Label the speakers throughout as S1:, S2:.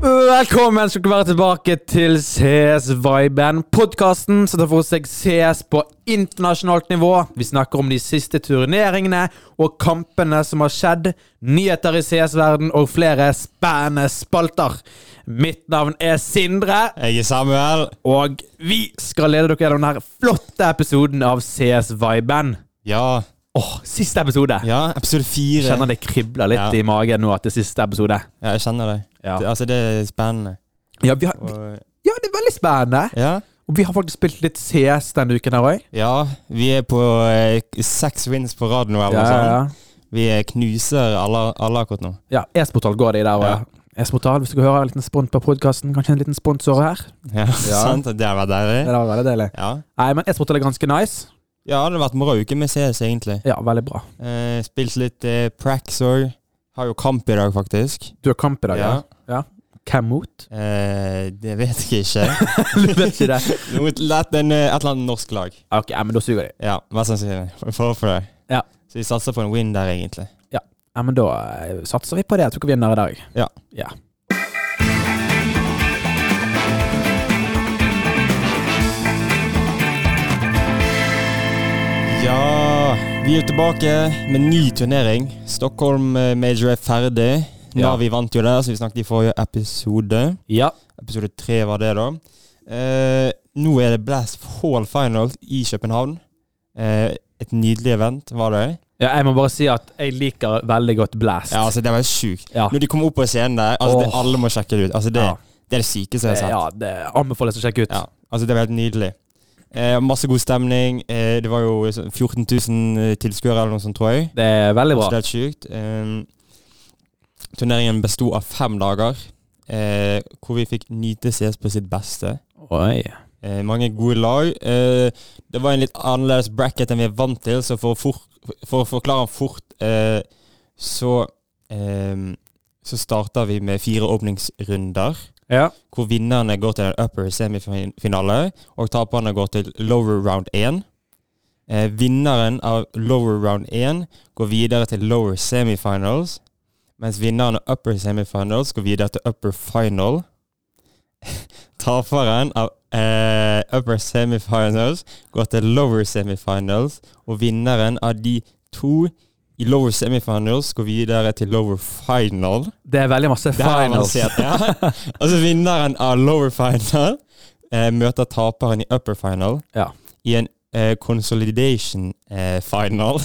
S1: Velkommen skal dere være tilbake til CS-viben. Podkasten som tar for seg CS på internasjonalt nivå. Vi snakker om de siste turneringene og kampene som har skjedd, nyheter i CS-verden og flere spennende spalter. Mitt navn er Sindre,
S2: Jeg er Samuel.
S1: og vi skal lede dere gjennom denne flotte episoden av CS-viben.
S2: Ja,
S1: Åh, siste episode!
S2: ja episode fire.
S1: Kjenner det kribler litt
S2: Ja.
S1: i magen nå etter siste episode.
S2: Ja, jeg kjenner deg.
S1: Ja.
S2: Det, altså, det er spennende.
S1: Ja, vi har,
S2: Og,
S1: ja, det er veldig spennende.
S2: ja.
S1: Og vi har faktisk spilt litt CS denne uken her òg.
S2: ja, vi er på eh, seks wins på rad nå. Eller noe sånt. Vi eh, knuser alle, alle akkurat nå.
S1: ja. E-sportal går det i der òg.
S2: Ja.
S1: E-sportal, hvis du kan høre en liten spont på podkasten. Kanskje en liten sponsor her.
S2: Ja, sant? Det har vært
S1: Det
S2: deilig.
S1: hadde vært veldig deilig.
S2: Ja.
S1: Nei, men e-sportal er ganske nice.
S2: ja, det har vært moro uke med CS, egentlig.
S1: Ja, veldig bra.
S2: Eh, spilt litt eh, prax òg. Har jo kamp i dag, faktisk.
S1: Du har kamp i dag, ja? Hvem mot?
S2: Eh, det vet jeg ikke.
S1: du vet ikke det.
S2: Noe lett, en, eh, et eller annet norsk lag.
S1: Ok, ja, men da suger de.
S2: Ja, mest sannsynlig. For, for det.
S1: Ja.
S2: Så vi satser på en win der, egentlig.
S1: Ja, men da eh, satser vi på det. Jeg tror vi vinner i dag.
S2: Ja.
S1: ja.
S2: Ja, vi er tilbake med ny turnering. Stockholm eh, Major er ferdig.
S1: Ja.
S2: Navi vant jo der, som vi snakket i forrige episode.
S1: Ja.
S2: Episode tre var det, da. Eh, nå er det Blast Hall Final i København. Eh, et nydelig event, var det.
S1: ja. Jeg må bare si at jeg liker veldig godt Blast.
S2: Ja, altså, det var jo sjukt.
S1: Ja.
S2: Når de kom opp på scenen der, altså, det,
S1: Åh.
S2: alle må sjekke det ut. Altså, det,
S1: Ja.
S2: det er det sykeste jeg har
S1: Det-
S2: sett.
S1: ja, det anbefales å sjekke ut.
S2: Ja, altså det var helt nydelig. Eh, masse god stemning. Eh, det var jo sånn 14 000 eh, tilskuere eller noe sånt, tror jeg.
S1: Det er veldig
S2: Så
S1: bra.
S2: det er helt sjukt. Eh, turneringen besto av fem dager, eh, hvor vi fikk nyte CS på sitt beste.
S1: Oi.
S2: Eh, mange gode lag. Eh, det var en litt annerledes bracket enn vi er vant til, så for å, for, for å forklare den fort, eh, så eh, så starter vi med fire åpningsrunder
S1: Ja.
S2: hvor vinnerne går til en upper semifinale, og taperne går til lower round 1. Eh, vinneren av lower round 1 går videre til lower semifinals, mens vinneren av upper semifinals går videre til upper final. Taperen av eh, upper semifinals går til lower semifinals, og vinneren av de to i lower semifinals går videre til lower final.
S1: Det er veldig masse
S2: Det her er
S1: finals.
S2: avansert, ja. Altså vinneren av lower final eh, møter taperen i upper final
S1: Ja.
S2: i en eh, consolidation eh, final.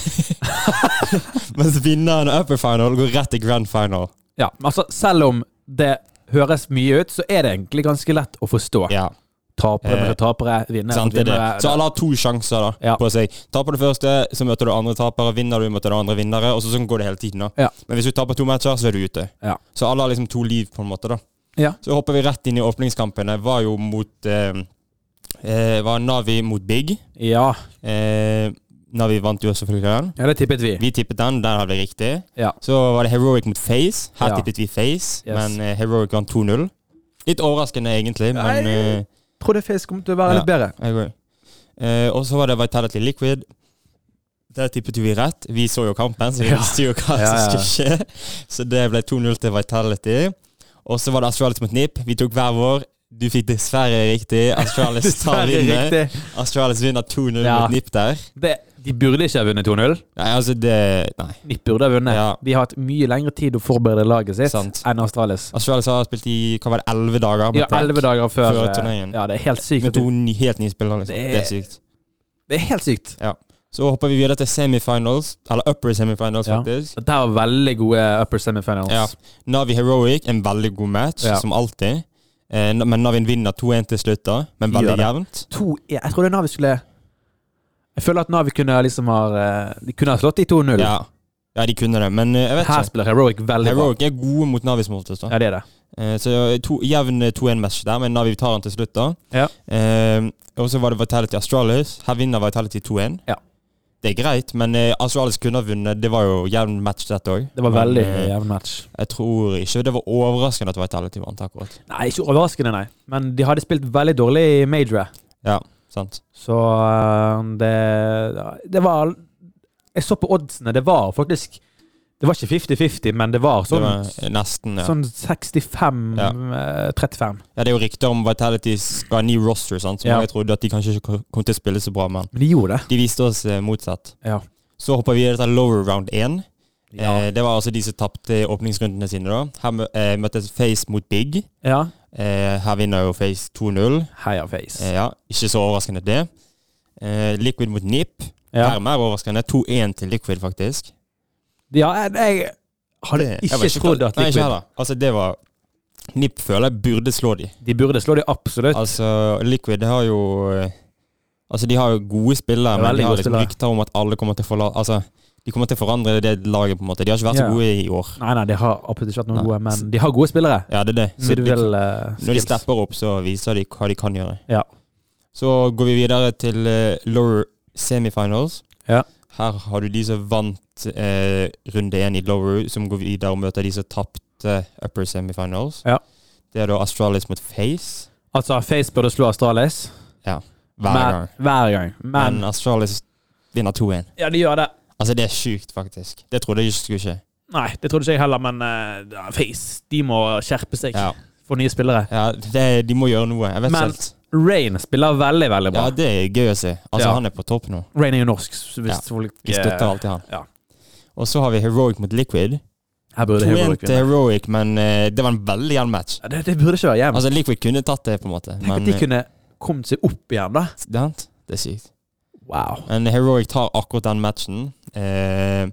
S2: Mens vinneren av upper final går rett til grand final.
S1: Ja, men altså selv om det høres mye ut, så er det egentlig ganske lett å forstå.
S2: Ja,
S1: Tapere
S2: Eh,
S1: mot tapere, vinnere
S2: sant
S1: mot
S2: det er det.
S1: vinnere.
S2: Så alle har to sjanser da,
S1: Ja.
S2: på seg. Taper du første, så møter du andre tapere. Vinner du, møter du andre vinnere. Og så sånn går det hele tiden. da.
S1: Ja.
S2: Men hvis du taper to matcher, så er du ute.
S1: Ja.
S2: Så alle har liksom to liv, på en måte. da.
S1: Ja.
S2: Så hopper vi rett inn i åpningskampene. Var jo mot eh, eh, Var Navi mot Big.
S1: Ja,
S2: Eh, Navi vant jo selvfølgelig den.
S1: ja, det tippet vi.
S2: Vi tippet den, den hadde vi riktig.
S1: Ja.
S2: Så var det Heroic mot Face. Her
S1: Ja.
S2: tippet vi Face,
S1: Yes.
S2: men eh, Heroic vant 2-0. Litt overraskende, egentlig, men
S1: Nei.
S2: eh,
S1: Trodde Face kom til å være
S2: Ja.
S1: litt bedre.
S2: jeg går. Eh, og så var det Vitality Liquid. Der tippet vi rett. Vi så jo kampen, så vi
S1: Ja.
S2: visste jo hva
S1: Ja, ja.
S2: som skulle skje. Så det ble 2-0 til Vitality. Og så var det Astralis mot Nip. Vi tok hver vår. Du fikk dessverre riktig. Astralis tar
S1: Dessverre
S2: vinner.
S1: riktig.
S2: Astralis vinner 2-0
S1: Ja.
S2: mot Nip der.
S1: Det, de burde ikke ha vunnet 2-0.
S2: Nei, altså det Nei.
S1: De burde ha vunnet.
S2: Ja.
S1: De har hatt mye lengre tid å forberede laget sitt
S2: Sant.
S1: enn Astralis.
S2: Astralis har spilt i hva var det, elleve dager. med
S1: Ja,
S2: Prague.
S1: elleve dager før,
S2: Før
S1: eh,
S2: turneringen.
S1: Ja, det er helt sykt.
S2: Med
S1: at de-
S2: to ny, helt nye spillere. Liksom.
S1: Det er-
S2: Det er sykt.
S1: Det er helt sykt.
S2: Så hopper vi videre til semifinals, eller upper semifinals,
S1: Ja.
S2: faktisk.
S1: Dette var veldig gode upper semifinals.
S2: Ja. Navi Heroic, en veldig god match,
S1: Ja.
S2: som alltid. Eh, na- men Navin vinner 2-1 til slutt, da. Men
S1: Gjør
S2: veldig
S1: det.
S2: jevnt.
S1: To, jeg, jeg trodde Navi skulle Jeg føler at Navi kunne liksom ha eh, De kunne ha slått de 2-0.
S2: Ja. ja, de kunne det, men eh, jeg vet
S1: Her
S2: ikke.
S1: spiller Heroic veldig
S2: Heroic er gode mot Navi som oftest.
S1: bra.
S2: da.
S1: Ja, det er det.
S2: Eh, så to, jevn 2-1-match der, men Navi tar den til slutt, da.
S1: Ja.
S2: Eh, og så var det Vitality Astralis. Her vinner Vitality 2-1.
S1: Ja.
S2: Det er greit, men eh, Astralis kunne ha vunnet. Det var jo jevn match, dette òg.
S1: Det var veldig jevn match.
S2: Jeg tror ikke det var overraskende at Vitality vant akkurat.
S1: Nei, ikke overraskende, nei. Men de hadde spilt veldig dårlig i majoret.
S2: Ja, sant.
S1: Så eh, øh, det Det var Jeg så på oddsene. Det var faktisk Det var ikke 50-50, men det var
S2: Det
S1: sånn,
S2: var nesten, ja.
S1: sånn eh, 65-35.
S2: ja. Det er jo rykter om Vitality skal ha ny roster, sant? som
S1: Ja.
S2: jeg trodde at de kanskje ikke kom til å spille så bra, men
S1: Men de gjorde det.
S2: de viste oss eh, motsatt.
S1: Ja.
S2: Så hopper vi videre til lower round 1.
S1: Ja.
S2: Eh, det var altså de som tapte åpningsrundene sine. da. Her mø- eh, møttes Face mot Big.
S1: ja.
S2: Eh, her vinner jo Face 2-0.
S1: Heia Face.
S2: Eh, ja, Ikke så overraskende det. Eh, Liquid mot Nip.
S1: Ja.
S2: Her er mer overraskende. 2-1 til Liquid, faktisk.
S1: ja, jeg- jeg hadde
S2: Det- jeg
S1: ikke
S2: vet
S1: trodd
S2: hva-
S1: at
S2: Nei, ikke
S1: Liquid
S2: heller. Altså, det var Nip føler jeg burde slå de.
S1: De burde slå de absolutt.
S2: Altså, Liquid har jo eh, Altså, de har jo gode spillere, men
S1: Veldig
S2: de har
S1: gode
S2: liksom
S1: spillere.
S2: rykter om at alle kommer til å forla... Altså, de kommer til å forandre det laget, på en måte. De har ikke vært
S1: Ja.
S2: så gode i år.
S1: Nei, nei, de har absolutt ikke vært noen
S2: Nei.
S1: gode, men de har gode spillere. eh,
S2: Ja, det er det. Så de,
S1: Individuelle
S2: når de
S1: skills.
S2: stepper opp, så viser de hva de kan gjøre.
S1: Ja.
S2: Så går vi videre til eh, lower semifinals.
S1: Ja.
S2: Her har du de som vant eh, runde én i lower, som går videre og møter de som tapte upper semifinals.
S1: Ja.
S2: Det er da Astralis mot Face
S1: Altså, Face burde slå Astralis
S2: hver
S1: men,
S2: gang.
S1: Hver gang. Men,
S2: Men Astralis vinner 2-1.
S1: Ja, de gjør det.
S2: Altså, det er sjukt, faktisk. Det trodde jeg ikke skulle skje.
S1: Nei, det trodde ikke jeg heller, men eh, ja, Face de må skjerpe seg
S2: Ja,
S1: for nye spillere.
S2: ja det, De må gjøre noe. Jeg vet
S1: Men-
S2: ikke helt.
S1: Rain spiller veldig, veldig bra.
S2: Ja, det er gøy å se. Altså,
S1: Ja.
S2: Han er på topp nå.
S1: Rain er jo norsk, så hvis
S2: Ja,
S1: folk
S2: Vi
S1: eh,
S2: støtter alltid han.
S1: ja.
S2: Og så har vi Heroic mot Liquid.
S1: Her burde
S2: 2-1
S1: Heroic
S2: til
S1: vinne.
S2: Heroic, men eh, det var en veldig jevn match.
S1: Ja, det, det burde ikke være jevnt.
S2: Altså, Liquid kunne tatt det, på en måte.
S1: Tenk at
S2: Men
S1: de kunne kommet seg opp igjen, da.
S2: eh, sant? Det er sykt.
S1: Wow.
S2: Men Heroic tar akkurat den matchen. Eh,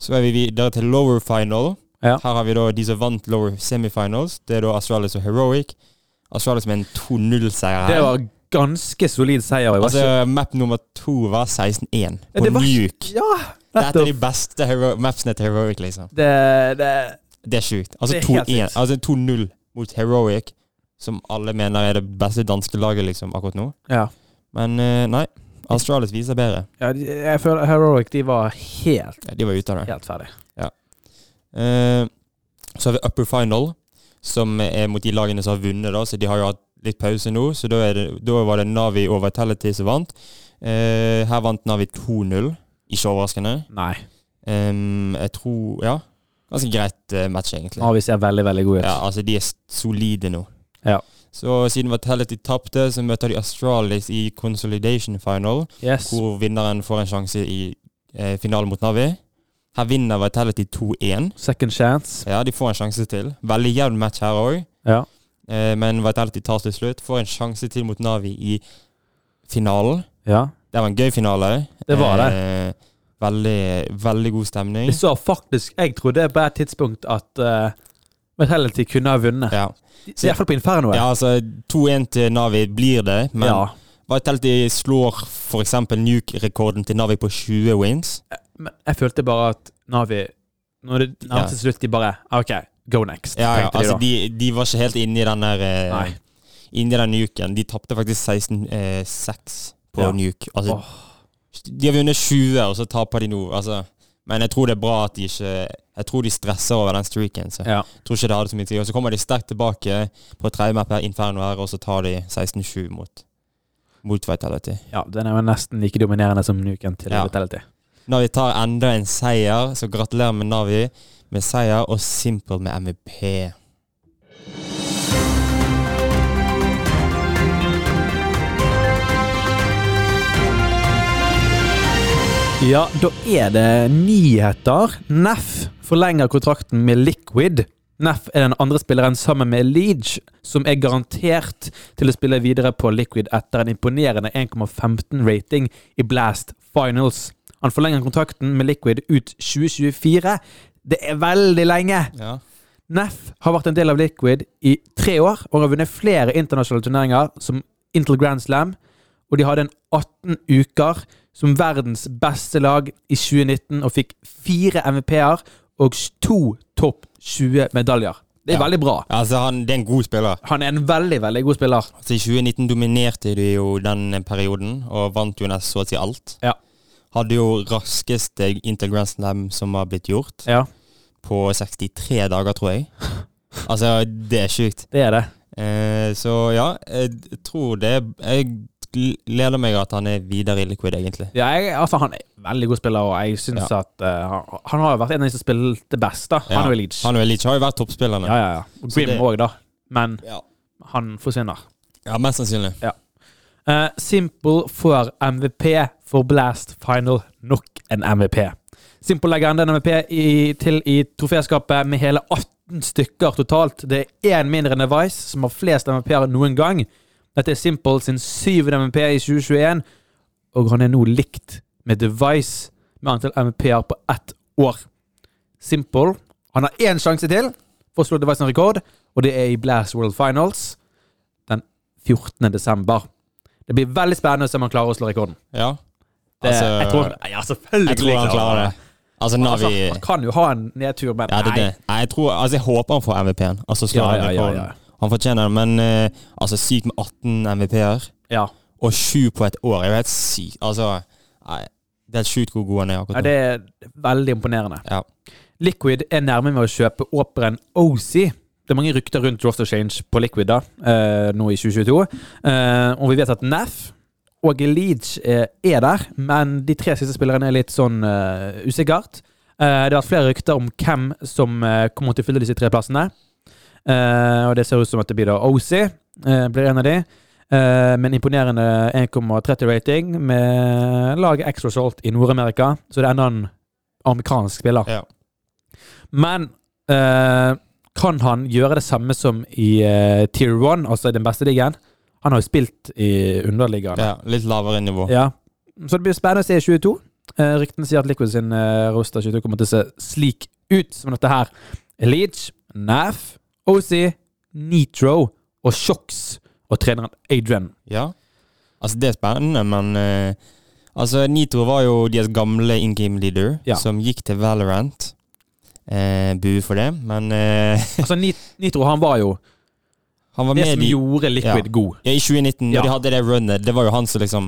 S2: så er vi videre til lower final.
S1: Ja.
S2: Her har vi da de som vant lower semifinals. Det er da Astralis og Heroic. Astralis med en 2-0-seier
S1: Det
S2: her.
S1: var ganske solid seier. Jeg var
S2: Altså,
S1: ikke-
S2: map nummer to var 16-1 på
S1: det var-
S2: Nuke.
S1: ja,
S2: Dette er
S1: nettopp.
S2: de beste hero mapsene til Heroic, liksom.
S1: Det, det
S2: Det er sjukt. Altså
S1: Det er helt
S2: 2-1
S1: sykt.
S2: altså 2-0 mot Heroic, som alle mener er det beste danske laget liksom akkurat nå.
S1: Ja.
S2: Men eh, nei, Australis viser bedre.
S1: ja de, jeg føler Heroic de var helt,
S2: Ja, de var ute av det.
S1: helt ferdig.
S2: Eh, så har vi upper final, som er mot de lagene som har vunnet, da, så de har jo hatt litt pause nå. Så da, er det, da var det Navi og Vitality som vant. Eh, her vant Navi 2-0. Ikke overraskende.
S1: Nei.
S2: Em, Ehm, jeg tror Ja, ganske greit eh, match, egentlig.
S1: Avi ser veldig, veldig god ut.
S2: Ja, altså de er s- solide nå.
S1: Ja.
S2: Så siden Vitality tapte, så møter de Astralis i consolidation final,
S1: Yes.
S2: hvor vinneren får en sjanse i eh, finalen mot Navi. Her vinner Vitality 2-1.
S1: Second chance.
S2: Ja, de får en sjanse til. Veldig jevn match her òg,
S1: Ja.
S2: eh, men Vitality tar til slutt. Får en sjanse til mot Navi i finalen.
S1: ja.
S2: Det var en gøy finale.
S1: Det var det.
S2: Eh, veldig, veldig god stemning.
S1: Jeg så faktisk Jeg trodde på et tidspunkt at uh, Vitality kunne ha vunnet.
S2: Ja.
S1: I hvert fall på Infernoet.
S2: ja, altså 2-1 til Navi blir det, men
S1: Ja.
S2: Vitality slår f.eks. Nuke-rekorden til Navi på 20 wins.
S1: Men jeg følte bare at Navi Når det
S2: Ja.
S1: nærmet seg slutt, de bare ah, OK, go next.
S2: Ja, ja,
S1: tenkte
S2: altså
S1: de da.
S2: de, de var ikke helt inne i den der eh,
S1: Nei.
S2: Inne i den Nuken. De tapte faktisk 16-6 på
S1: Ja.
S2: Nuke. Altså,
S1: Åh.
S2: De har vunnet 20, og så taper de nå. Altså. Men jeg tror det er bra at de ikke Jeg tror de stresser over den streaken. Så.
S1: Ja.
S2: Jeg tror ikke det hadde så mye tid. Og så kommer de sterkt tilbake på tredje map her, Inferno her, og så tar de 16-7 mot, mot Vitality.
S1: ja, den er jo nesten like dominerende som Nuken til
S2: Ja.
S1: Vitality.
S2: Navi tar enda en seier, så gratulerer med Navi med seier og Simple med MVP.
S1: Ja, da er det nyheter. NEF forlenger kontrakten med Liquid. NEF er den andre spilleren sammen med Leage, som er garantert til å spille videre på Liquid etter en imponerende 1,15-rating i Blast Finals. Han forlenger kontrakten med Liquid ut 2024. Det er veldig lenge!
S2: Ja.
S1: NEF har vært en del av Liquid i tre år og har vunnet flere internasjonale turneringer, som Intel Grand Slam, og de hadde en 18 uker som verdens beste lag i 2019 og fikk fire MVP-er og to topp 20-medaljer. Det er
S2: Ja.
S1: veldig bra.
S2: Altså, han, det er en god spiller.
S1: Han er en veldig, veldig god spiller.
S2: Altså, I 2019 dominerte de jo den perioden, og vant jo nesten så å si alt.
S1: Ja.
S2: Hadde jo raskeste Inter Grand Slam som har blitt gjort,
S1: Ja,
S2: på 63 dager, tror jeg. Altså, det er sjukt.
S1: det er det.
S2: Eh, så ja, jeg tror det Jeg gleder meg at han er videre i Liquid, egentlig.
S1: Ja, jeg, altså, han er en veldig god spiller, og jeg syns at eh, han- han har jo vært en av de som spilte best. da
S2: Ja.
S1: Han er jo Leach.
S2: Han og Elic har jo vært toppspillerne.
S1: Ja, ja, ja. Og
S2: Så
S1: Grim
S2: det-
S1: òg, da. Men
S2: Ja.
S1: han forsvinner.
S2: Ja, mest sannsynlig.
S1: Eh, Simple får MVP for Blast Final. Nok en MVP. Simple legger enda en MVP i, til i troféskapet med hele 18 stykker totalt. Det er én mindre enn Vice, som har flest MVP-er noen gang. Dette er Simple sin syvende MVP i 2021, og han er nå likt med Device med antall MVP-er på ett år. Simple. Han har én sjanse til for å slå Device sin rekord, og det er i Blast World Finals den 14. desember. Det blir veldig spennende å se om han klarer å slå rekorden.
S2: Ja.
S1: Det,
S2: Altså,
S1: jeg tror, ja, selvfølgelig
S2: jeg tror han klarer det. Altså, Navi
S1: Altså, han kan jo ha en nedtur, men
S2: Ja, det er
S1: nei.
S2: det. Nei, jeg tror Altså, jeg håper han får MVP-en. Altså, slår
S1: Ja,
S2: han
S1: ja, ja,
S2: rekorden.
S1: ja.
S2: Han fortjener det, men eh, altså, sykt med 18 MVP-er
S1: Ja.
S2: og 7 på et år er jo helt sykt. Altså, nei, det er helt sjukt hvor god han er
S1: Ja,
S2: akkurat nå.
S1: det er veldig imponerende.
S2: Ja.
S1: Liquid er nærme med å kjøpe operaen OC. Det er mange rykter rundt Draft of Change på Liquid da, eh, nå i 2022. Eh, og vi vet at NAF og Leach eh, er der, men de tre siste spillerne er litt sånn eh, usikkert. Eh, det har vært flere rykter om hvem som eh, kommer til å fylle disse tre plassene. Eh, og det ser ut som at det blir da OC eh, blir en av de. Eh, men imponerende 1,30 rating med laget Extra Salt i Nord-Amerika. Så det er enda en amerikansk spiller.
S2: Ja.
S1: Men eh, kan han gjøre det samme som i eh, Tier 1, altså i den beste ligaen? Han har jo spilt i underligaen. Ja.
S2: Ja, litt lavere nivå.
S1: Så det blir spennende å se i 22. Eh, ryktene sier at Liquid sin uh, roster 22 kommer til å se slik ut som dette her. Leach, NAF, OC, Nitro og Shox og treneren Adrian.
S2: Ja. Altså, det er spennende, men eh, Altså, Nitro var jo deres gamle in game leader,
S1: Ja.
S2: som gikk til Valorant. Eh, Bue for det, men eh,
S1: Altså, Nit Nitro han var jo
S2: han var
S1: det
S2: med
S1: som
S2: i
S1: gjorde Liquid
S2: Ja.
S1: god.
S2: ja, I 2019,
S1: Ja.
S2: når de hadde det runnet, det var jo han som liksom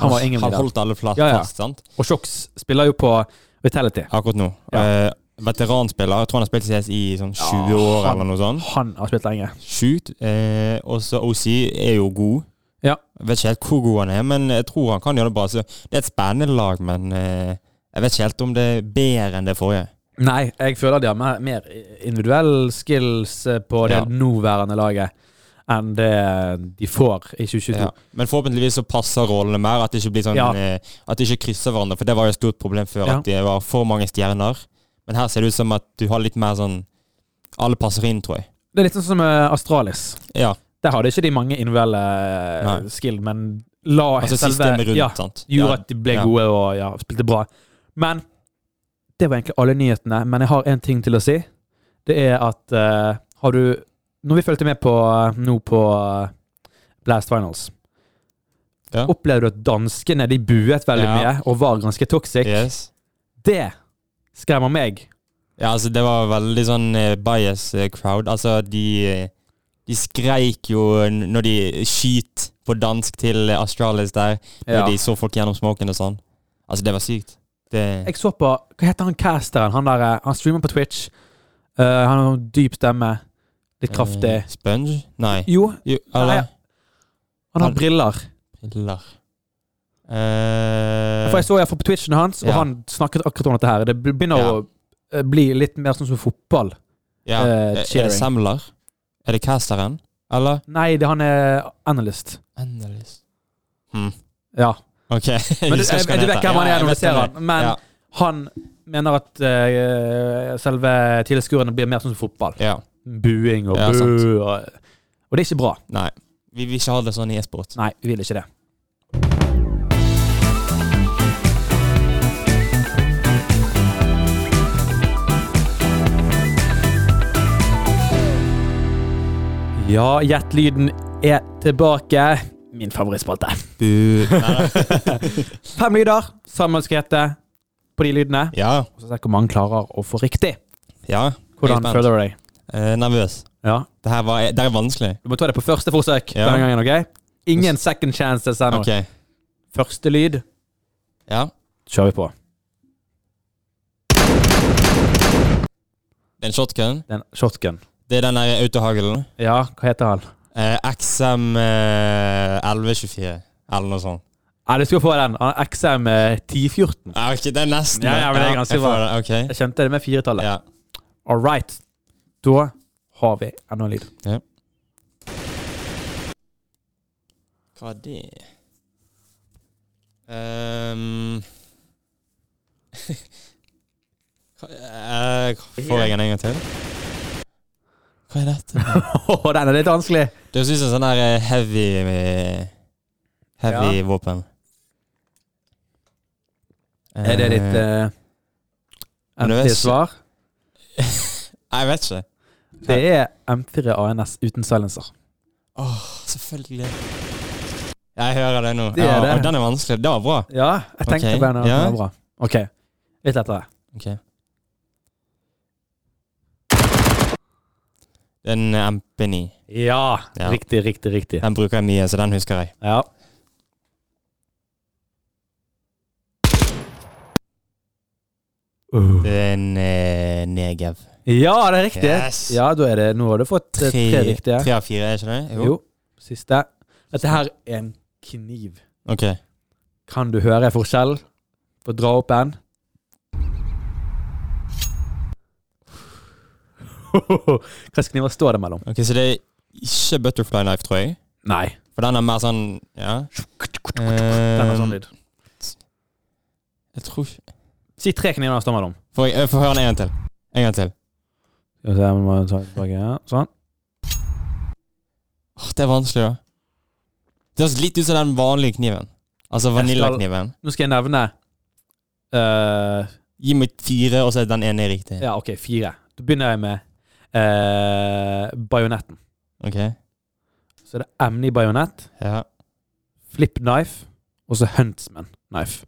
S1: Han var ingen leader.
S2: holdt alle flat,
S1: Ja, ja.
S2: fast, sant?
S1: Og Shox spiller jo på Vitality.
S2: Akkurat nå.
S1: Ja.
S2: Eh, veteranspiller. Jeg tror han har spilt CS i sånn 20
S1: Ja,
S2: år
S1: han-
S2: eller noe sånt.
S1: Han har spilt lenge.
S2: Sjukt. Eh, og så OC er jo god.
S1: Ja.
S2: Jeg vet ikke helt hvor god han er, men jeg tror han kan gjøre det bra. Så det er et spennende lag, men eh, jeg vet ikke helt om det er bedre enn det forrige.
S1: Nei, jeg føler de har mer, mer individuell skills eh, på det
S2: Ja.
S1: nåværende laget enn det de får i 2022.
S2: Ja. Men forhåpentligvis så passer rollene mer, at det ikke blir sånn
S1: Ja.
S2: eh, At de ikke krysser hverandre, for det var jo et stort problem før,
S1: Ja.
S2: at det var for mange stjerner. Men her ser det ut som at du har litt mer sånn Alle passer inn, tror jeg.
S1: Det er litt sånn som eh, Astralis.
S2: Ja,
S1: Der hadde ikke de mange individuelle eh,
S2: Nei.
S1: skill, men la
S2: altså
S1: selve-
S2: systemet rundt,
S1: ja,
S2: sant.
S1: gjorde
S2: Ja.
S1: at de ble
S2: Ja.
S1: gode og ja, spilte bra. Men det var egentlig alle nyhetene. Men jeg har én ting til å si. Det er at eh, har du Når vi fulgte med på nå på eh, Blast Finals
S2: Ja.
S1: Opplevde du at danskene de buet veldig
S2: Ja.
S1: mye og var ganske toxic?
S2: Yes.
S1: Det skremmer meg.
S2: Ja, altså det var veldig sånn eh, bias eh, crowd. Altså de eh, De skreik jo eh, n- når de skyt på dansk til eh, Astralis der, når
S1: Ja.
S2: de så folk gjennom smoken og sånn. Altså, det var sykt. Det
S1: Jeg så på Hva heter han casteren? Han der, eh, han streamer på Twitch. Eh, han har en dyp stemme. Litt kraftig.
S2: eh, Sponge? Nei.
S1: Jo,
S2: Jo, eller?
S1: han
S2: Han-
S1: har briller.
S2: Eller Eh,
S1: For jeg så jeg på Twitchen hans, og
S2: Ja.
S1: han snakket akkurat om dette her. Det begynner
S2: Ja.
S1: å eh, bli litt mer sånn som fotball.
S2: ja.
S1: eh,
S2: Er- Er
S1: cheering.
S2: det Samler? Er det casteren? Eller?
S1: Nei, det, han er analyst.
S2: Endelig.
S1: Ja.
S2: OK.
S1: Men du,
S2: husker
S1: jeg, du
S2: ikke hva han
S1: vet
S2: heter.
S1: hvem han
S2: Ja,
S1: er
S2: jeg
S1: når du
S2: vet
S1: ser
S2: hvem
S1: han. Men
S2: Ja.
S1: han mener at eh, selve tilskuerne blir mer sånn som fotball.
S2: Ja.
S1: Buing og
S2: Ja,
S1: bu.
S2: sant.
S1: og, og det er ikke bra.
S2: Nei. Vi vil ikke ha det sånn i e-sport.
S1: Nei, vi vil ikke det. Ja, Gjettlyden er tilbake. Min favorittspalte.
S2: Bu.
S1: Fem lyder. Sammen skal gjette på de lydene.
S2: ja.
S1: Og så ser vi hvor mange klarer å få riktig.
S2: Ja. Jeg er
S1: Hvordan
S2: spent.
S1: føler du deg?
S2: Eh, nervøs.
S1: Ja.
S2: Det her var, det her er vanskelig.
S1: Du må ta det på første forsøk.
S2: Ja.
S1: denne gangen, ok? Ingen second chances ennå.
S2: Ok.
S1: Første lyd
S2: Ja.
S1: kjører vi på.
S2: Det er en shotgun.
S1: Den shotgun.
S2: Det er den Eh, der autohaglen.
S1: Ja, hva heter han?
S2: Eh, XM eh, 1124. eller noe sånt.
S1: Ja, du skal få den. Han XM med 1014.
S2: Ja, ok, det er nesten
S1: Ja, ja, men det er ganske
S2: jeg får
S1: bra.
S2: det, ok.
S1: Jeg kjente det med firetallet.
S2: Ja.
S1: All right. Da har vi enda en lyd.
S2: Hva er det? Ehm. Hva- eh, Får jeg den en gang til? Hva er dette?
S1: Åh, den er litt vanskelig.
S2: Det høres ut som sånn der eh, heavy eh, Heavy
S1: Ja.
S2: våpen.
S1: Er det ditt
S2: Eh,
S1: uh,
S2: men det er så-
S1: MT-svar?
S2: Jeg vet ikke.
S1: Det er M4 ANS uten silencer.
S2: Åh, selvfølgelig. Jeg hører det nå.
S1: Det er
S2: ja,
S1: det.
S2: Og den er vanskelig. Det var bra.
S1: Ja, jeg tenkte
S2: Ok,
S1: på den. og
S2: ja.
S1: Den var bra. OK. Litt lettere.
S2: Ok. Den eh, er MP9.
S1: Ja.
S2: Ja.
S1: Riktig, riktig, riktig.
S2: Den bruker jeg mye, så den husker jeg.
S1: Ja. Uh.
S2: Den er eh, Negev.
S1: Ja, det er riktig.
S2: Yes.
S1: Ja, da er det Nå har du fått eh, tre riktige.
S2: tre av fire, er ikke det?
S1: Jo. Siste. Dette her er en kniv.
S2: Ok.
S1: Kan du høre forskjell på å dra opp en? Hva kniver står det mellom?
S2: Ok, Så det er ikke Butterfly Knife, tror jeg.
S1: Nei.
S2: For den er mer sånn Ja.
S1: Den har sånn
S2: Eh,
S1: lyd.
S2: Jeg tror ikke
S1: Si tre kniver det står mellom.
S2: Får jeg, jeg får høre den en gang til. En gang til.
S1: Skal vi se, jeg må ta tilbake her. Sånn.
S2: Åh, det er vanskelig, da. Det høres litt ut som den vanlige kniven. Altså vaniljakniven.
S1: Nå skal jeg nevne eh,
S2: Gi meg fire, og så er den ene riktig.
S1: Ja, OK, fire. Da begynner jeg med eh, bajonetten.
S2: Ok.
S1: Så det er emne i bajonett,
S2: Ja.
S1: flip knife og så huntsman knife.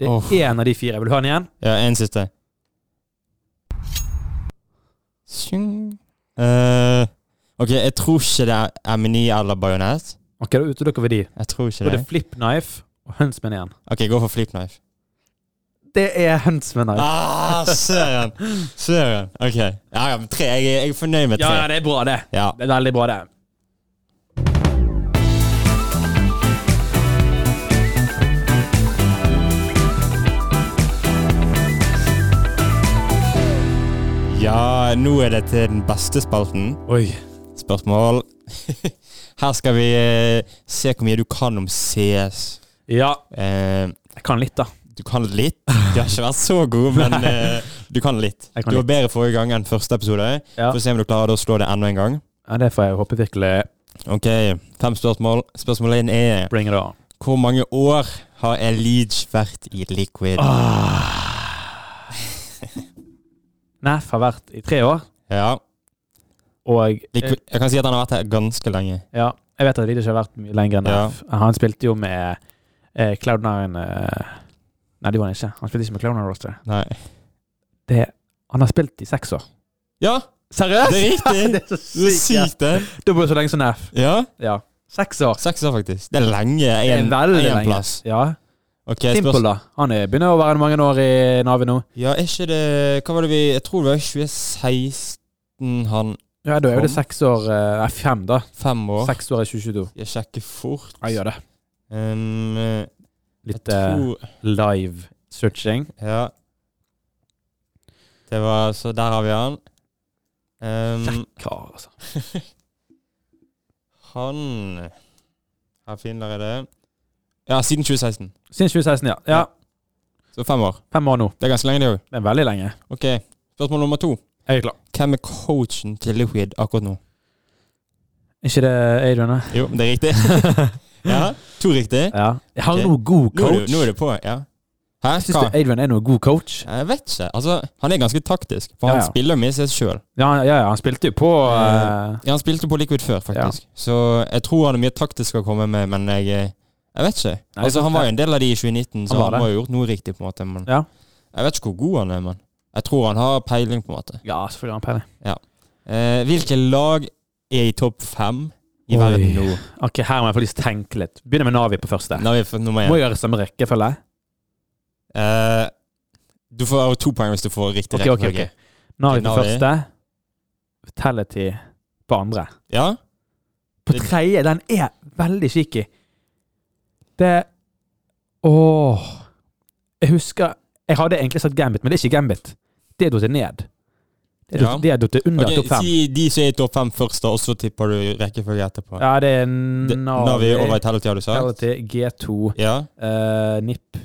S1: Det
S2: Åh.
S1: er én av de fire. Vil du ha den igjen?
S2: ja en siste. Tjung. Eh, ok, jeg tror ikke det er M9 eller bajonett.
S1: OK, da utelukker vi de.
S2: Jeg tror ikke
S1: Da er
S2: det.
S1: det flip knife og huntsman igjen.
S2: Ok, gå for flipknife.
S1: Det er huntsman knife.
S2: Ah, søren! Søren. Ok. Ja, ja, men tre. Jeg, er- jeg er fornøyd med
S1: Ja, ja,
S2: tre.
S1: det er bra, det.
S2: Ja.
S1: Det er veldig bra, det.
S2: ja, nå er det til den beste spalten.
S1: Oi.
S2: Spørsmål. Her skal vi eh, se hvor mye du kan om CS.
S1: Ja,
S2: Eh,
S1: jeg kan litt, da.
S2: Du kan litt. Du har ikke vært så god, men eh, du kan litt.
S1: Jeg kan
S2: du var bedre forrige gang enn første episode.
S1: Ja.
S2: Får se om du klarer å slå det enda en gang.
S1: Ja, Det får jeg håpe virkelig
S2: Ok, Fem spørsmål. Spørsmål én er
S1: bring it on.
S2: Hvor mange år har Elige vært i Liquid?
S1: Ah. Neff har vært i tre år,
S2: Ja,
S1: og
S2: Liquid. Jeg kan si at han har vært her ganske lenge.
S1: Ja, jeg vet at Lidic har vært mye lenger enn
S2: Ja.
S1: F. Han spilte jo med eh, Cloud9 eh, Nei, det gjorde han ikke. Han spilte ikke med Cloud9 Roster.
S2: Nei.
S1: Det, han har spilt i seks år.
S2: Ja,
S1: Seriøst?!
S2: det er riktig!
S1: det er så
S2: Det er
S1: sykt! ja.
S2: sykt, det.
S1: Dobbelt så lenge som F.
S2: Ja,
S1: Ja. Seks år.
S2: Seks år, faktisk. Det er lenge.
S1: Det er
S2: En,
S1: veldig
S2: en
S1: lenge.
S2: plass.
S1: Ja.
S2: Ok,
S1: Simple,
S2: spørsmål.
S1: da. Han er, begynner å være mange år i Navi nå.
S2: Ja, er ikke det Hva var det vi Jeg tror det var 2016 han
S1: Ja, da er jo det
S2: Kom.
S1: seks år eh, Nei, fem, da.
S2: Fem år.
S1: Seks år i 2022.
S2: Jeg sjekker fort.
S1: Jeg gjør det.
S2: Um, eh, jeg
S1: Litt eh,
S2: tror
S1: live searching.
S2: Ja. Det var Så der har vi han. Um,
S1: Kar, altså.
S2: han Her finner jeg det. Ja, siden 2016.
S1: Siden 2016, ja. ja.
S2: Så fem år.
S1: Fem år nå.
S2: Det er ganske lenge, det òg.
S1: Det er veldig lenge.
S2: Ok, spørsmål nummer to.
S1: Jeg er klar.
S2: Hvem er coachen til Liquid akkurat nå?
S1: Ikke det Adrian, da?
S2: Jo, det er riktig. ja, To riktig.
S1: Ja. Jeg har
S2: Ok.
S1: noe god
S2: Nå er,
S1: coach.
S2: du, nå er du på, ja. Hæ?
S1: Jeg syns
S2: Hva?
S1: det- Adrian er noe god coach.
S2: Jeg vet ikke. Altså, han er ganske taktisk, for han
S1: Ja, ja.
S2: spiller med seg sjøl.
S1: Ja, han- ja, ja, han spilte jo på eh,
S2: Ja, han spilte på Liquid før, faktisk. Så jeg tror han er mye taktisk å komme med, men jeg, eh, jeg vet ikke.
S1: Nei,
S2: altså,
S1: så-
S2: han var jo en del av de i 2019, så
S1: Han
S2: han,
S1: var det.
S2: må ha gjort noe riktig, på en måte. Men
S1: Ja.
S2: jeg vet ikke hvor god han er, men jeg tror han har peiling, på en måte.
S1: Ja, selvfølgelig har han peiling.
S2: Eh, hvilke lag er i topp fem i
S1: Oi.
S2: verden nå?
S1: Ok, her må jeg faktisk tenke litt. Begynner med Navi på første.
S2: Nå har vi fått nummer
S1: Må
S2: én.
S1: gjøre samme rekkefølge.
S2: Eh, du får to poeng hvis du får riktig
S1: Ok, ok,
S2: rekkefølge.
S1: ok. Navi på
S2: Navi.
S1: første. Vitality på andre.
S2: Ja?
S1: På
S2: Det-
S1: tredje, den er veldig cheeky. Det Åh. Jeg husker Jeg hadde egentlig sagt Gambit, men det er ikke Gambit. Det er datt ned. Det er
S2: Ja.
S1: datt- det er datt under
S2: Ok,
S1: Mm. topp fem.
S2: Si de som er i topp fem først, da, og så tipper du rekkefølge etterpå.
S1: Ja, det er
S2: Det- Navi og Vitality, har du sagt?
S1: Vitality, G2,
S2: Ja?
S1: eh, NIP.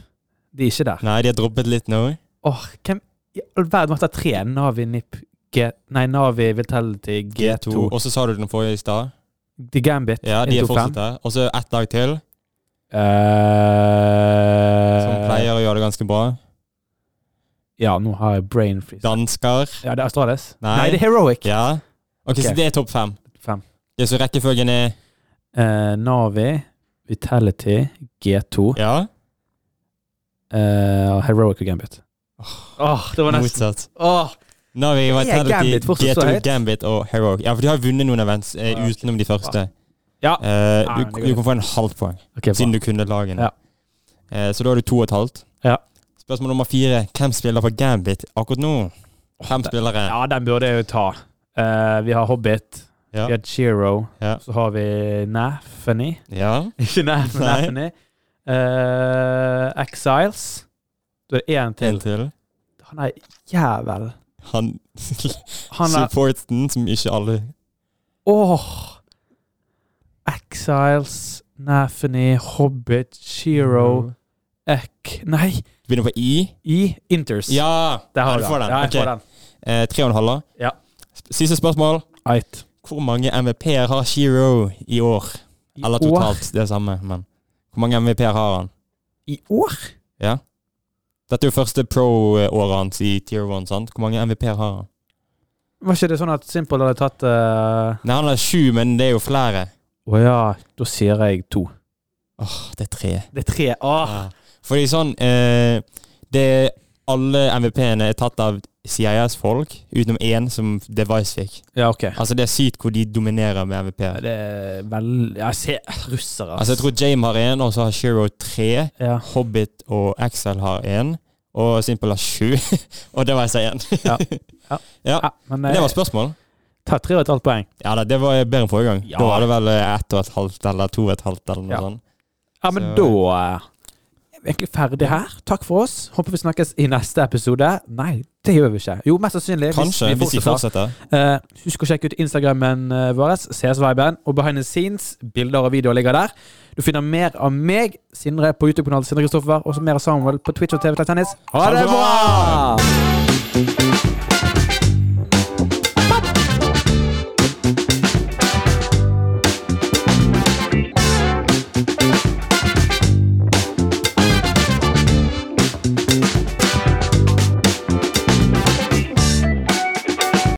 S1: De er ikke der.
S2: Nei, de har droppet litt nå.
S1: Åh, hvem i all verden måtte ha tre? Navi, NIP, G... Nei, Navi, Vitality,
S2: G2.
S1: G2.
S2: Og så sa du den forrige i stad.
S1: The Gambit.
S2: Ja, de
S1: en, to,
S2: er
S1: fem.
S2: fortsatt der. Og så ett lag til,
S1: Eh,
S2: som pleier å gjøre det ganske bra.
S1: Ja, nå har jeg brain freeze.
S2: Dansker.
S1: Ja, det er Astralis.
S2: Nei.
S1: Nei, det er Heroic.
S2: Ja. Ok,
S1: Ok.
S2: så det er topp fem.
S1: Fem.
S2: Ja, så rekkefølgen er
S1: Eh, Navi, Vitality, G2,
S2: Ja,
S1: eh, og Heroic og Gambit. Åh, det var nesten
S2: motsatt.
S1: Åh,
S2: Navi,
S1: Er
S2: Vitality,
S1: Gambit fortsatt så
S2: G2,
S1: høyt?
S2: Gambit og Heroic. Ja, for de har vunnet noen events eh,
S1: Ja, ok.
S2: utenom de første.
S1: Ja.
S2: Eh,
S1: Ja, men det
S2: du,
S1: går
S2: du
S1: greit.
S2: kan få en halv poeng.
S1: Ok, bra.
S2: Siden du kunne lagene.
S1: Ja.
S2: Eh, så da har du to og et halvt.
S1: Ja.
S2: Spørsmål nummer fire. Hvem spiller for Gambit akkurat nå? Hvem
S1: det-
S2: spillere?
S1: Ja, den burde jeg jo ta. Eh, vi har Hobbit,
S2: Ja.
S1: vi har Chiro,
S2: Ja.
S1: så har vi Naffany.
S2: Ja.
S1: Ikke Naff, men
S2: Nei.
S1: Naffany. Eh, Exiles. Du er det én
S2: En
S1: til.
S2: til.
S1: Han er jævel.
S2: Han,
S1: Han er
S2: supporten som ikke alle
S1: Åh! Exiles, Naffany, Hobbit,
S2: Mm.
S1: Chiro, Eck Nei,
S2: Du begynner på I.
S1: i Inters.
S2: Ja!
S1: Der har
S2: Ja,
S1: du
S2: du får den.
S1: Ja, jeg
S2: Ok.
S1: får den.
S2: Eh, tre og en halv. da.
S1: Ja.
S2: S- Siste spørsmål.
S1: Eit.
S2: Hvor mange MVP-er har Shiro i år?
S1: I
S2: Eller
S1: År.
S2: totalt, det er samme, men Hvor mange MVP-er har han?
S1: I år?
S2: Dette er jo første pro-året hans i tier 1, sant? Hvor mange MVP-er har han?
S1: Var ikke det sånn at Simple hadde tatt eh, Å
S2: Nei, han har sju, men det er jo flere.
S1: ja, da sier jeg to.
S2: Åh, det er tre.
S1: Det er tre. Åh!
S2: Ja. Fordi sånn eh, det er Alle MVP-ene er tatt av CIS-folk, utenom én som Device fikk.
S1: Ja, OK.
S2: Altså Det er sykt hvor de dominerer med MVP-er.
S1: Det er vel Jeg ser russere.
S2: Altså Jeg tror Jame har én, og så har Shiro tre.
S1: ja.
S2: Hobbit og Axel har én. Og Simple har sju. og Device har én.
S1: ja, men
S2: Men Det var
S1: jeg
S2: spørsmål.
S1: tar tre og et halvt poeng.
S2: Ja da, Det var bedre enn forrige gang.
S1: Ja.
S2: Da var det vel eh, ett og et halvt eller to og et halvt eller noe
S1: Ja.
S2: sånt.
S1: Ja, men
S2: Så-
S1: da eh, er vi egentlig ferdig her. Takk for oss. Håper vi snakkes i neste episode. Nei, det gjør vi ikke. Jo, mest sannsynlig.
S2: Kanskje, hvis de fortsetter.
S1: Eh, husk å sjekke ut Instagrammen eh, vår, CS-viben, og behind the scenes. Bilder og videoer ligger der. Du finner mer av meg, Sindre, på YouTube-kanalen Sindre Kristoffer, og så mer av Samuel på Twitch og TV Tennis. Ha det bra!